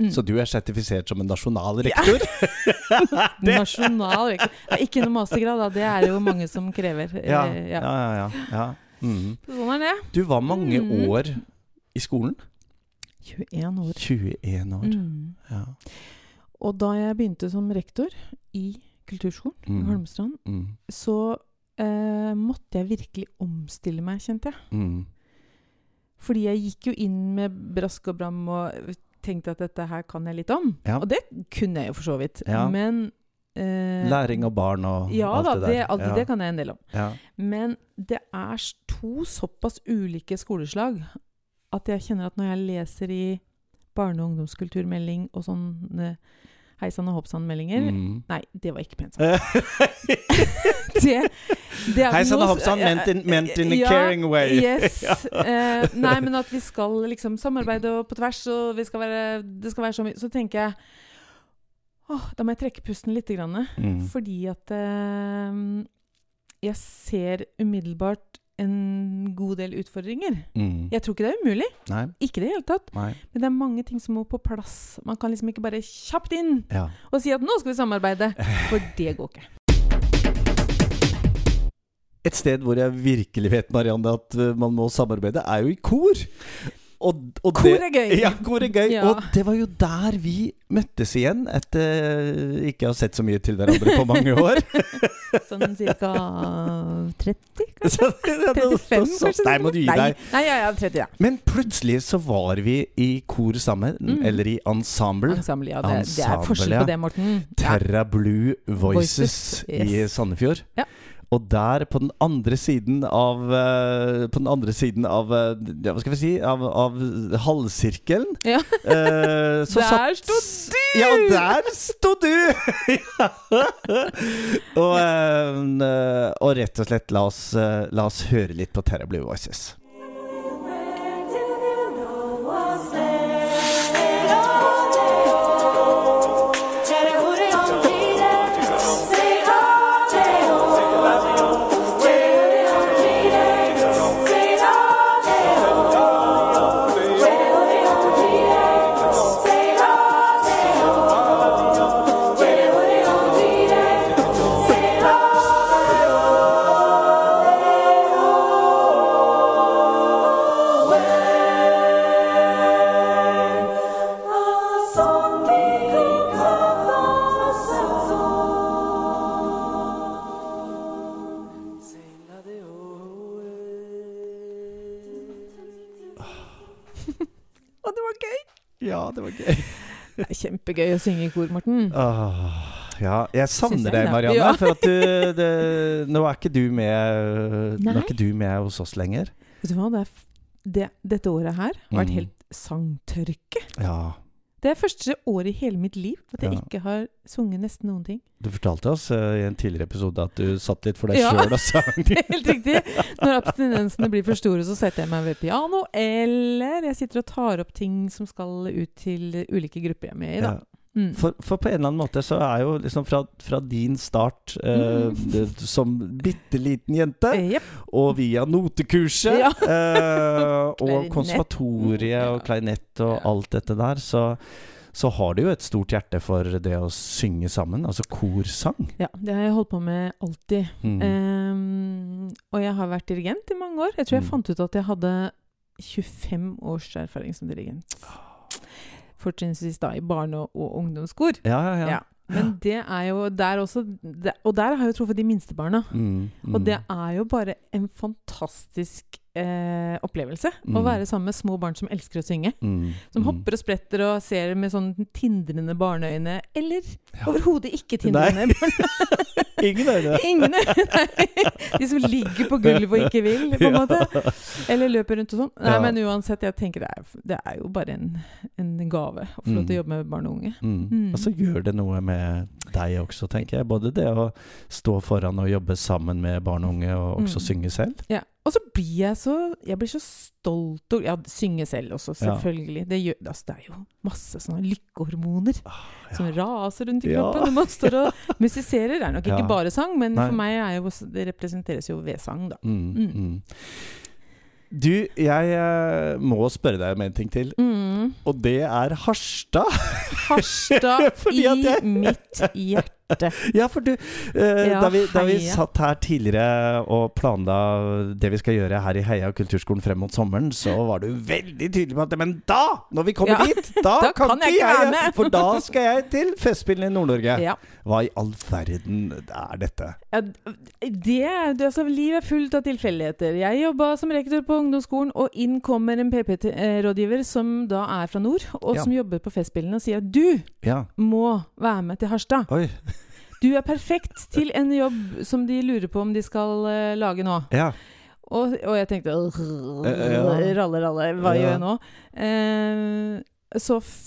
S1: [LAUGHS]
S2: Så du er sertifisert som en nasjonal rektor? [LAUGHS]
S1: Nasjonal rektor. Ja, ikke noe mastergrad, da. Det er jo mange som krever. Eh,
S2: [LAUGHS] Ja, ja, ja. ja, ja. Mm.
S1: Sånn er det.
S2: Du var mange
S1: Mm.
S2: år i skolen?
S1: 21 år.
S2: 21 år.
S1: Mm.
S2: Ja.
S1: Og da jeg begynte som rektor i kulturskolen i
S2: Mm.
S1: Holmestrand,
S2: Mm.
S1: så eh, måtte jeg virkelig omstille meg, kjente jeg.
S2: Mm.
S1: Fordi jeg gikk jo inn med brask og bram og tenkte at dette her kan jeg litt om.
S2: Ja.
S1: Og det kunne jeg jo for så vidt.
S2: Ja.
S1: Men eh,
S2: Læring og barn og
S1: ja,
S2: alt
S1: da,
S2: det
S1: det
S2: der.
S1: alt
S2: ja.
S1: det kan jeg en del om.
S2: Ja.
S1: Men det er s- to såpass ulike skoleslag at jeg kjenner at når jeg leser i barne- og ungdomskulturmelding og sånne hei sann og hopp sann-meldinger
S2: Mm. [LAUGHS]
S1: Nei, det var ikke pent sagt. det, det er
S2: Hei sann
S1: noe- eh,
S2: og hopp sann, meant in- meant in a
S1: Ja,
S2: caring way. [LAUGHS]
S1: Yes. Eh, nei, men at vi skal liksom samarbeide og på tvers, og vi skal være, det skal være så mye Så tenker jeg åh, da må jeg trekke pusten litt, grann,
S2: Mm.
S1: fordi at eh, jeg ser umiddelbart en god del utfordringer.
S2: Mm.
S1: Jeg tror ikke det er umulig.
S2: Nei.
S1: Ikke det i det hele tatt.
S2: Nei.
S1: Men det er mange ting som må på plass. Man kan liksom ikke bare kjapt inn
S2: Ja.
S1: og si at 'nå skal vi samarbeide', for det går ikke.
S2: Et sted hvor jeg virkelig vet, Marianne, at eh, man må samarbeide, er jo i kor. Og, og
S1: Kor
S2: det-
S1: er gøy!
S2: Ja, kor er gøy.
S1: Ja.
S2: Og det var jo der vi møttes igjen, etter ikke å ha sett så mye til hverandre på
S1: [LAUGHS]
S2: mange år.
S1: Sånn ca. 30, kanskje?
S2: Så det- det- det-
S1: 35,
S2: så-
S1: kanskje?
S2: sånn. Nei, må du gi
S1: Nei.
S2: deg.
S1: Nei, ja, ja, 30, ja.
S2: Men plutselig så var vi i kor sammen,
S1: Mm.
S2: eller i ensemble.
S1: Ensemble, ja. Det, det er
S2: Ensemble,
S1: forskjell
S2: ja.
S1: på det, Morten. Ja.
S2: Terra Blue Voices,
S1: Voices,
S2: i
S1: yes.
S2: Sandefjord.
S1: Ja.
S2: Og der, på den andre siden av eh, På den andre siden av eh, Ja, hva skal vi si Av, av halvsirkelen.
S1: [LAUGHS] Ja.
S2: eh, så
S1: Der
S2: satt-
S1: sto du!
S2: Ja, der sto du! [LAUGHS] Ja. og, eh, og rett og slett, la oss, eh, la oss høre litt på Terra Blue Voices.
S1: Og det var gøy!
S2: Ja, det var gøy.
S1: Det er kjempegøy å synge i kor, Morten.
S2: Åh, ja, jeg
S1: Syns
S2: savner
S1: jeg
S2: deg,
S1: det.
S2: Marianne.
S1: Ja.
S2: For at
S1: [LAUGHS]
S2: du det, Nå er ikke du med Nå
S1: Nei.
S2: er ikke du med hos oss lenger.
S1: Vet du hva, det er f det, dette året her har vært
S2: Mm.
S1: helt sangtørke.
S2: Ja,
S1: Det er første året i hele mitt liv at jeg
S2: Ja.
S1: ikke har sunget nesten noen ting. [LAUGHS]
S2: Du fortalte oss eh, i en tidligere episode at du satt litt for deg
S1: Ja.
S2: sjøl og
S1: [LAUGHS]
S2: sang.
S1: Helt riktig. Når abstinensene blir for store, så setter jeg meg ved piano, eller jeg sitter og tar opp ting som skal ut til ulike grupper jeg er med i, da.
S2: Ja.
S1: Mm.
S2: For, for på en eller annen måte så er jo liksom fra, fra din start eh,
S1: Mm.
S2: det- som bitte liten jente,
S1: Eh, Jepp.
S2: og via notekurset
S1: Ja. [LAUGHS]
S2: eh, og
S1: Klarinett.
S2: konservatoriet og
S1: Ja.
S2: klarinett og
S1: Ja.
S2: alt dette der, så, så har du jo et stort hjerte for det å synge sammen, altså korsang.
S1: Ja, det har jeg holdt på med alltid.
S2: Mm.
S1: Ehm, og jeg har vært dirigent i mange år. Jeg tror jeg
S2: Mm.
S1: fant ut at jeg hadde 25 års erfaring som dirigent. Fortrinnsvis da i barne- og ungdomskor.
S2: ja, ja, ja.
S1: Ja. Men det er jo der også det, Og der har jeg jo truffet de minste barna.
S2: Mm, mm.
S1: Og det er jo bare en fantastisk eh, opplevelse
S2: Mm.
S1: å være sammen med små barn som elsker å synge.
S2: Mm,
S1: Som
S2: mm.
S1: hopper og spretter og ser med sånn tindrende barneøyne. Eller
S2: Ja.
S1: overhodet ikke [LAUGHS] tindrende.
S2: [LAUGHS] Ingen er det.
S1: Ingen Nei. De som ligger på gulvet og ikke vil, på en
S2: [LAUGHS]
S1: måte. Eller løper rundt og sånn. Nei,
S2: Ja.
S1: men uansett, jeg tenker det er, det er jo bare en, en gave å få lov til å
S2: Mm.
S1: jobbe med barn og unge.
S2: Mm.
S1: Mm.
S2: Og så gjør det noe med deg også, tenker jeg. Både det å stå foran og jobbe sammen med barn og unge, og også
S1: Mm.
S2: synge selv.
S1: Ja. Og så blir jeg så Jeg blir så stolt og Ja, synge selv også,
S2: Ja.
S1: selvfølgelig. Det, gjør, altså, det er jo masse sånne lykkehormoner som raser rundt i
S2: Ah, Ja.
S1: kroppen når man står
S2: [LAUGHS]
S1: og musiserer. Det er nok ikke
S2: Ja.
S1: bare sang, men
S2: Nei.
S1: for meg er jo også, det representeres jo ved sang, da.
S2: Mm.
S1: Mm.
S2: Mm. Du, jeg eh, må spørre deg om en ting til,
S1: Mm.
S2: og det er Harstad.
S1: Harstad
S2: [LAUGHS] Fordi
S1: i
S2: at jeg-
S1: mitt hjerte.
S2: [LAUGHS] Ja, for du eh,
S1: Ja,
S2: Da vi, da vi
S1: heia.
S2: satt her tidligere og planla det vi skal gjøre her i Heia kulturskolen frem mot sommeren, så var du veldig tydelig på at Men da! Når vi kommer
S1: Ja,
S2: dit,
S1: [LAUGHS]
S2: da,
S1: da
S2: kan,
S1: kan jeg
S2: ikke
S1: ikke
S2: jeg,
S1: være med.
S2: For da skal jeg til Festspillene i Nord-Norge.
S1: Ja.
S2: Hva i all verden er dette?
S1: Ja, det, det, altså, livet er fullt av tilfeldigheter. Jeg jobba som rektor på ungdomsskolen, og inn kommer en PP-rådgiver som da er fra nord, og
S2: Ja.
S1: som jobber på Festspillene, og sier at du
S2: Ja,
S1: må være med til Harstad.
S2: oi.
S1: Du er perfekt til en jobb som de lurer på om de skal eh, lage nå.
S2: Ja.
S1: Og, og jeg tenkte «Åh,
S2: Eh, ja.
S1: Ralle, ralle, hva
S2: Ja.
S1: gjør jeg nå? Eh, så, f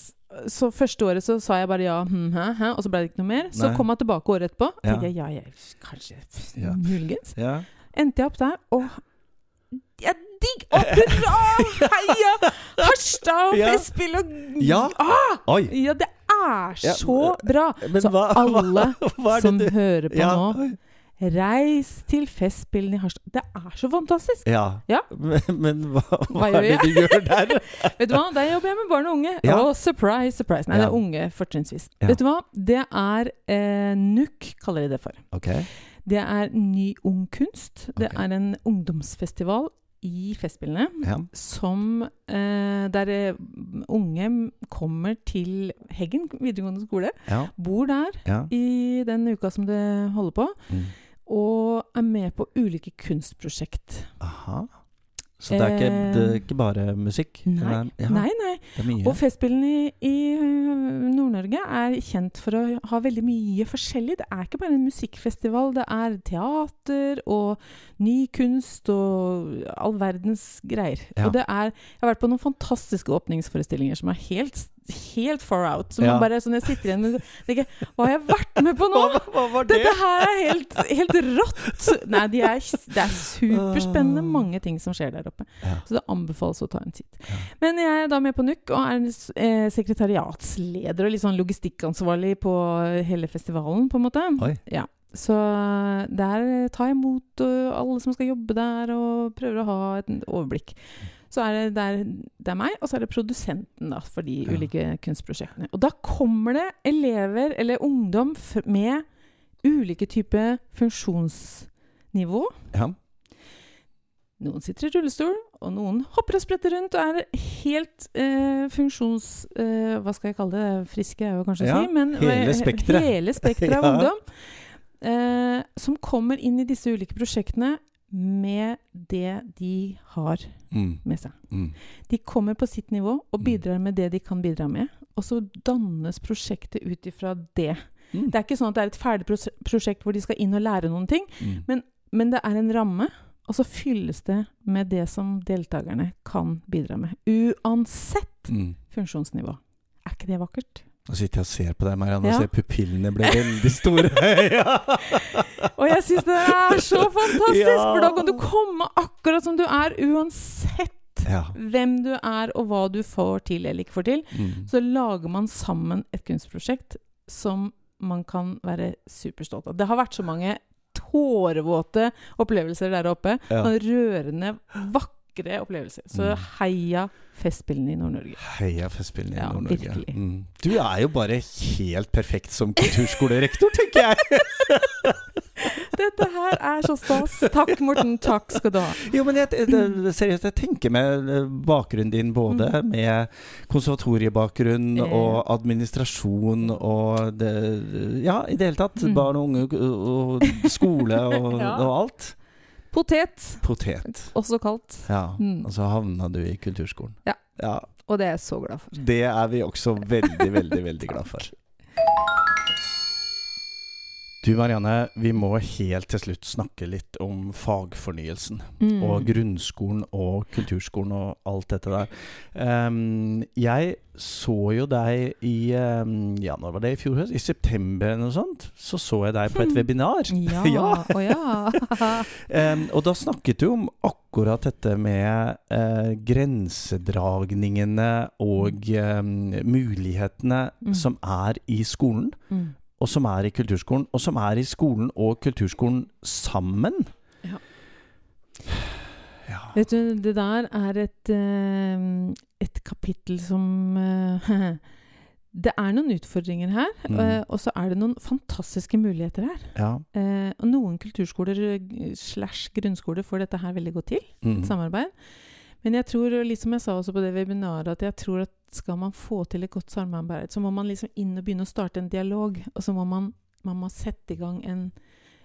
S1: så første året så sa jeg bare ja, hm, hæ, hæ, og så ble det ikke noe mer. Så
S2: Nei.
S1: kom jeg tilbake året etterpå.
S2: Ja.
S1: Tenkte jeg, ja, jeg, kanskje,
S2: Ja.
S1: muligens.
S2: ja.
S1: Endte jeg opp der, og jeg digg! Å, hurra!
S2: [LAUGHS]
S1: Heia! Harstad og
S2: Ja.
S1: Festspill og
S2: Ja.
S1: Ah!
S2: Oi.
S1: ja, det er
S2: Ja,
S1: så bra!
S2: Men
S1: Så
S2: hva, [LAUGHS]
S1: alle
S2: hva, hva er
S1: som
S2: det du
S1: hører på nå,
S2: oi.
S1: Reis til Festspillene i Harstad. Det er så fantastisk!
S2: Ja.
S1: Ja.
S2: Men, [LAUGHS] men hva, hva
S1: Hva
S2: er det
S1: gjør
S2: du gjør der?
S1: Vet du hva, Der jobber jeg med barn og unge.
S2: Ja.
S1: Å, surprise, surprise. Nei, det
S2: Ja.
S1: er unge fortrinnsvis.
S2: Ja.
S1: Vet du hva? Det er eh, NUK, kaller de det for.
S2: [LAUGHS] Ok.
S1: Det er Ny Ung Kunst. Det
S2: Ok.
S1: er en ungdomsfestival i Festspillene
S2: Ja.
S1: som eh, Der eh, unge kommer til Heggen videregående skole.
S2: Ja.
S1: Bor der
S2: ja.
S1: i den uka som det holder på.
S2: Mm.
S1: Og er med på ulike kunstprosjekt.
S2: Aha. Så det er ikke, det er ikke bare musikk?
S1: Eh, Nei,
S2: Det er- ja,
S1: nei, nei.
S2: Det er mye.
S1: Og Festspillene i, i øh, Nord-Norge er kjent for å ha veldig mye forskjellig. Det er ikke bare en musikkfestival, det er teater og ny kunst og all verdens greier.
S2: Ja.
S1: Og det er Jeg har vært på noen fantastiske åpningsforestillinger som er helt, helt far out. Som
S2: Ja.
S1: man bare sånn jeg sitter igjen med tenker, Hva har jeg vært med på nå?!
S2: hva, hva var det?
S1: Dette her er helt, helt rått! Nei, de er, det er superspennende mange ting som skjer der oppe.
S2: Ja.
S1: Så det anbefales å ta en titt.
S2: Ja.
S1: Men jeg er da med på NUK, og er s- eh, sekretariatsleder og litt sånn logistikkansvarlig på eh, hele festivalen, på en måte.
S2: Oi.
S1: Ja. Så der tar jeg imot ø, alle som skal jobbe der, og prøver å ha et overblikk. Så er det, det, er, det er meg, og så er det produsenten da, for de
S2: Ja.
S1: ulike kunstprosjektene. Og da kommer det elever, eller ungdom, f med ulike typer funksjonsnivå.
S2: Ja.
S1: Noen sitter i rullestol, og noen hopper og spretter rundt og er helt eh, funksjons... Eh, hva skal jeg kalle det? Friske er jo kanskje å
S2: Ja,
S1: si, men
S2: hele spektret.
S1: hele spektret av
S2: [LAUGHS] Ja.
S1: ungdom eh, som kommer inn i disse ulike prosjektene med det de har
S2: Mm.
S1: med seg.
S2: Mm.
S1: De kommer på sitt nivå og
S2: Mm.
S1: bidrar med det de kan bidra med, og så dannes prosjektet ut ifra det.
S2: Mm.
S1: Det er ikke sånn at det er et ferdig pros prosjekt hvor de skal inn og lære noen ting.
S2: Mm.
S1: Men det er en ramme, og så fylles det med det som deltakerne kan bidra med. Uansett
S2: Mm.
S1: funksjonsnivå. Er ikke det vakkert?
S2: Nå sitter jeg og ser på deg, Marianne,
S1: Ja.
S2: og ser pupillene blir
S1: [LAUGHS]
S2: veldig store. ja.
S1: Og jeg syns det er så fantastisk!
S2: Ja.
S1: For da kan du komme akkurat som du er, uansett
S2: ja.
S1: hvem du er og hva du får til eller ikke får til.
S2: Mm.
S1: Så lager man sammen et kunstprosjekt som man kan være superstolt av. Det har vært så mange tårevåte opplevelser der oppe.
S2: Ja.
S1: Sånn rørende, vakre opplevelser. Så
S2: Mm.
S1: heia Festspillene i Nord-Norge. [LAUGHS]
S2: Heia Festspillene i
S1: Ja,
S2: Nord-Norge.
S1: virkelig.
S2: Mm. Du er jo bare helt perfekt som kulturskolerektor, tenker jeg!
S1: [LAUGHS] Dette her er så stas. Takk, Morten. Takk skal du ha.
S2: Jo, men jeg, det, seriøst, jeg tenker med eh, bakgrunnen din både med konservatoriebakgrunn
S1: Mm. Ja.
S2: og administrasjon og det, Ja, i det hele tatt.
S1: Mm.
S2: Barn og unge og og skole og,
S1: [LAUGHS] Ja.
S2: og alt.
S1: Potet,
S2: Potet.
S1: også kalt.
S2: Ja.
S1: Mm.
S2: Og så havna du i kulturskolen.
S1: Ja.
S2: ja.
S1: Og det er jeg så glad for.
S2: Det er vi også veldig, veldig, veldig glad for. Du Marianne, vi må helt til slutt snakke litt om fagfornyelsen.
S1: Mm.
S2: og grunnskolen og kulturskolen og alt dette der. Ehm, jeg så jo deg i um, Ja, når var det? I fjor høst? I september eller noe sånt? Så så jeg deg på et
S1: Hmm.
S2: webinar.
S1: [LAUGHS] Ja.
S2: [LAUGHS] Ja.
S1: Å ja. [LAUGHS]
S2: Ehm, og da snakket du om akkurat dette med eh, grensedragningene og ehm, mulighetene
S1: Mm.
S2: som er i skolen,
S1: Mm.
S2: og som er i kulturskolen, og som er i skolen og kulturskolen sammen.
S1: Ja.
S2: Ja.
S1: Vet du, det der er et, eh, et kapittel som eh, [LAUGHS] Det er noen utfordringer her,
S2: Mm.
S1: eh, og så er det noen fantastiske muligheter her.
S2: ja.
S1: Eh, og noen kulturskoler eh, slash grunnskoler får dette her veldig godt til,
S2: Mm.
S1: et samarbeid. Men jeg tror, og litt som jeg sa også på det webinaret, at jeg tror at skal man få til et godt samarbeid, så må man liksom inn og begynne å starte en dialog. Og så må man, man må sette i gang en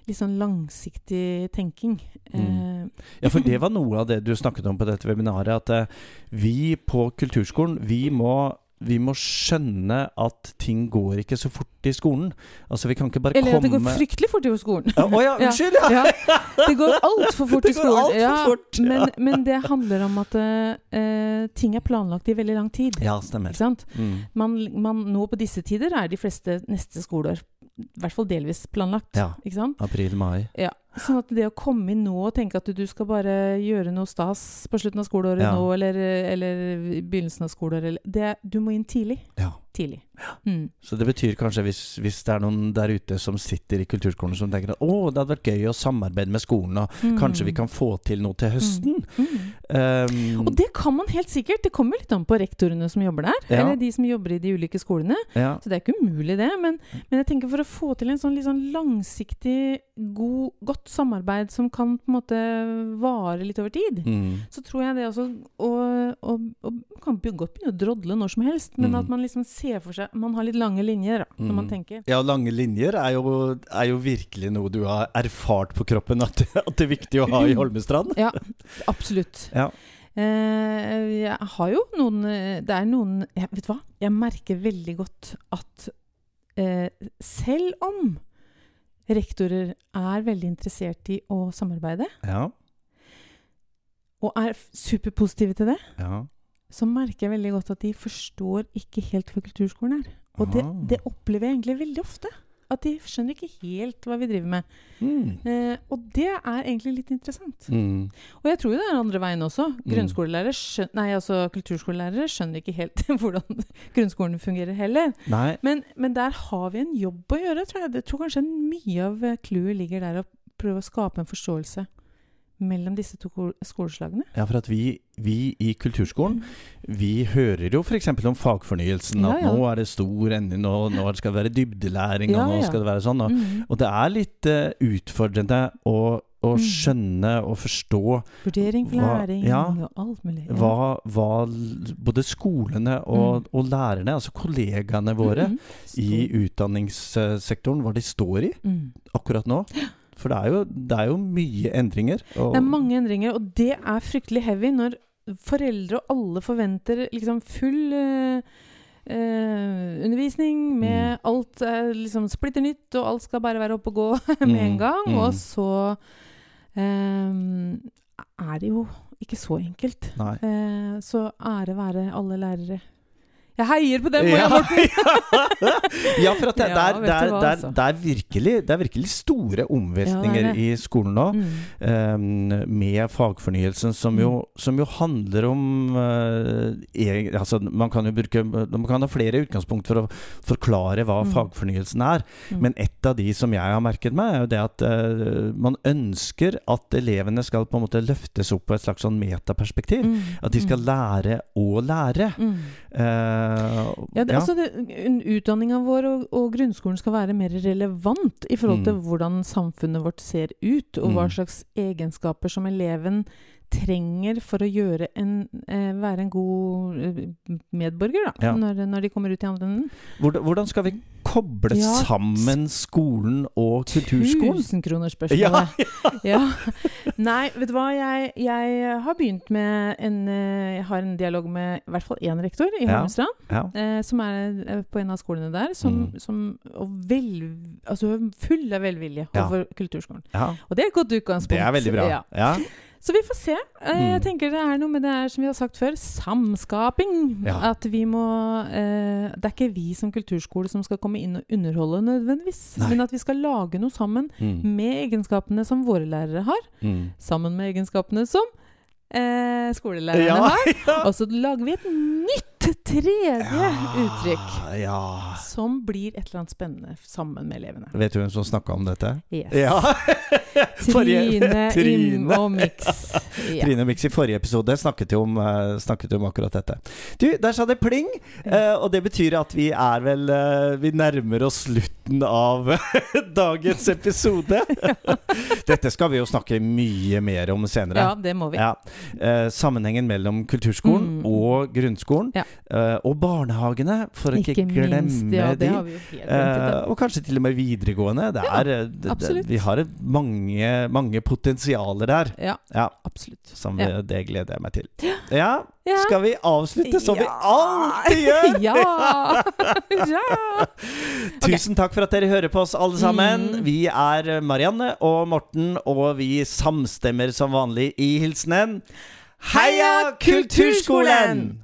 S1: litt sånn langsiktig tenking.
S2: Mm.
S1: Eh,
S2: Ja, for det var noe av det du snakket om på dette webinaret, at eh, vi på kulturskolen, vi må vi må skjønne at ting går ikke så fort i skolen. Altså, vi kan ikke bare
S1: eller at det går
S2: komme
S1: fryktelig fort i skolen.
S2: Ja, Å ja,
S1: Ja.
S2: unnskyld! [LAUGHS] Ja.
S1: Ja, det går altfor fort
S2: Det
S1: i
S2: går
S1: skolen.
S2: alt for fort, ja.
S1: Men, men det handler om at eh, ting er planlagt i veldig lang tid.
S2: ja,
S1: Ikke
S2: stemmer.
S1: sant?
S2: Mm.
S1: Man, man, nå på disse tider er de fleste neste skoleår i hvert fall delvis planlagt.
S2: Ja.
S1: Ikke sant?
S2: April-mai.
S1: Sånn at det å komme inn nå og tenke at du, du skal bare gjøre noe stas på slutten av skoleåret
S2: Ja.
S1: nå, eller, eller i begynnelsen av skoleåret, eller det, Du må inn tidlig.
S2: Ja.
S1: Tidlig. Mm.
S2: Så det betyr kanskje, hvis, hvis det er noen der ute som sitter i kulturskolen som tenker at å, det hadde vært gøy å samarbeide med skolen, og kanskje vi kan få til noe til høsten.
S1: Mm.
S2: Um,
S1: Og det kan man helt sikkert. Det kommer litt an på rektorene som jobber der.
S2: Ja.
S1: Eller de som jobber i de ulike skolene.
S2: ja,
S1: Så det er ikke umulig, det. Men, men jeg tenker for å få til en sånn litt sånn langsiktig, god, godt samarbeid som kan på en måte vare litt over tid,
S2: mm,
S1: så tror jeg det også å, å, å Man kan be- godt begynne å drodle når som helst, men
S2: Mm.
S1: at man liksom ser for seg Man har litt lange linjer da, når
S2: Mm.
S1: man tenker.
S2: ja, lange linjer er jo, er jo virkelig noe du har erfart på kroppen at, at det er viktig å ha i Holmestrand.
S1: Ja, absolutt.
S2: Ja.
S1: Eh, jeg har jo noen eh, Det er noen jeg, Vet du hva? Jeg merker veldig godt at eh, selv om rektorer er veldig interessert i å samarbeide,
S2: [LAUGHS] Ja,
S1: og er f- superpositive til det,
S2: ja.
S1: så merker jeg veldig godt at de forstår ikke helt hva kulturskolen er. Og det,
S2: Ah.
S1: det opplever jeg egentlig veldig ofte. At de skjønner ikke helt hva vi driver med.
S2: Mm.
S1: Eh, og det er egentlig litt interessant.
S2: Mm.
S1: Og jeg tror jo det er andre veien også.
S2: Mm.
S1: Grunnskolelærere skjøn- nei, altså Kulturskolelærere skjønner ikke helt [LAUGHS] hvordan grunnskolen fungerer heller.
S2: Nei,
S1: Men, men der har vi en jobb å gjøre, tror jeg. Jeg tror kanskje mye av eh, clouet ligger der å prøve å skape en forståelse mellom disse to kol- skoleslagene.
S2: ja, for at vi, vi i kulturskolen, vi hører jo f.eks. om fagfornyelsen. At
S1: Ja, ja.
S2: nå er det stor endring, nå, nå skal det være dybdelæring,
S1: Ja,
S2: og nå
S1: ja.
S2: skal det være sånn. Og,
S1: Mm.
S2: Og det er litt eh, utfordrende å, å
S1: Mm.
S2: skjønne og forstå
S1: Vurdering for
S2: hva-
S1: læring
S2: ja.
S1: og alt mulig. Ja.
S2: hva, hva l- både skolene og, og lærerne, altså kollegaene våre
S1: Mm.
S2: i
S1: Stor-
S2: utdanningssektoren, hva de står i
S1: mm.
S2: akkurat
S1: [GASPS]
S2: nå. For det er jo, det er jo mye endringer. og-
S1: Det er mange endringer, og det er fryktelig heavy når foreldre og alle forventer liksom full eh, eh, undervisning
S2: Mm.
S1: med alt er liksom splitter nytt, og alt skal bare være oppe og gå [LAUGHS] med en
S2: Mm,
S1: gang.
S2: mm.
S1: Og så eh, er det jo ikke så enkelt.
S2: Nei.
S1: Eh, så ære være alle lærere. Jeg heier på dem!
S2: ja,
S1: Ja.
S2: [LAUGHS] ja, for at
S1: [LAUGHS] Ja, vet
S2: det, det, er, det,
S1: du
S2: er,
S1: hva,
S2: det, er,
S1: altså.
S2: det, er virkelig, det er virkelig store omveltninger
S1: det.
S2: i skolen nå.
S1: Mm.
S2: eh, med fagfornyelsen, som jo, som jo handler om eh, egen- altså, Man kan jo bruke Man kan ha flere utgangspunkt for å forklare hva
S1: Mm.
S2: fagfornyelsen er.
S1: Mm.
S2: Men et av de som jeg har merket meg, er jo det at eh, man ønsker at elevene skal på en måte løftes opp på et slags sånn metaperspektiv.
S1: Mm.
S2: At de skal
S1: Mm.
S2: lære å lære.
S1: Mm.
S2: Eh,
S1: Ja, det, Altså det, un- Utdanninga vår og, og grunnskolen skal være mer relevant i forhold til
S2: Mm.
S1: hvordan samfunnet vårt ser ut, og hva
S2: Mm.
S1: slags egenskaper som eleven trenger for å gjøre en, eh, være en god eh, medborger da,
S2: Ja.
S1: når, når de kommer ut i andre enden.
S2: hvordan, hvordan skal vi koble
S1: Ja,
S2: sammen skolen og kulturskolen?
S1: Tusenkronerspørsmålet! [LAUGHS] Ja. Nei, vet du hva. Jeg, jeg har begynt med en eh, Jeg har en dialog med i hvert fall én rektor i
S2: Ja.
S1: Holmestrand.
S2: ja.
S1: eh, som er eh, på en av skolene der, som,
S2: Mm.
S1: som og vel, altså hun er full av velvilje
S2: Ja.
S1: over kulturskolen.
S2: ja.
S1: Og det er et godt utgangspunkt.
S2: Det er veldig bra.
S1: Ja.
S2: Ja.
S1: Så vi får se. Eh,
S2: Mm.
S1: Jeg tenker det er noe med det er, som vi har sagt før, samskaping.
S2: Ja.
S1: At vi må eh, Det er ikke vi som kulturskole som skal komme inn og underholde nødvendigvis,
S2: Nei.
S1: men at vi skal lage noe sammen
S2: Mm.
S1: med egenskapene som våre lærere har,
S2: Mm.
S1: sammen med egenskapene som eh, skolelærerne
S2: Ja,
S1: har. Og så lager vi et nytt tredje uttrykk.
S2: Ja.
S1: Som blir et eller annet spennende sammen med elevene.
S2: Vet du hvem som snakka om dette?
S1: Yes. [LAUGHS]
S2: Forrige- [LAUGHS]
S1: Trine, Im
S2: Trine.
S1: og
S2: [LAUGHS]
S1: Mix. Ja.
S2: Trine Mix i forrige episode snakket jo om, eh, snakket jo om akkurat dette. Du, der sa det pling!
S1: Mm.
S2: eh, Og det betyr at vi er vel eh, Vi nærmer oss slutten av [LAUGHS]
S1: [LAUGHS]
S2: dagens episode. Dette skal vi jo snakke mye mer om senere.
S1: ja, det må vi.
S2: Ja. Eh, sammenhengen mellom kulturskolen
S1: Mm.
S2: og grunnskolen.
S1: Ja.
S2: eh, og barnehagene, for å ikke,
S1: Ikke
S2: glemme
S1: minst. Ja, det
S2: de.
S1: har vi jo helt
S2: Eh,
S1: glemt.
S2: og kanskje til og med videregående. Det
S1: Ja,
S2: er, eh, det- det-
S1: absolutt.
S2: vi har et mange, mange potensialer der.
S1: Uh, ja,
S2: Ja,
S1: absolutt.
S2: som
S1: Ja.
S2: eh, Det gleder jeg meg til. Ja,
S1: Ja.
S2: skal vi avslutte som vi
S1: Ja.
S2: alltid
S1: [LAUGHS]
S2: gjør?
S1: ja!
S2: [LAUGHS]
S1: ja.
S2: Tusen takk for at dere hører på oss, alle
S1: Mm.
S2: sammen. Vi er Marianne og Morten, og vi samstemmer som vanlig i hilsenen. Heia kulturskolen!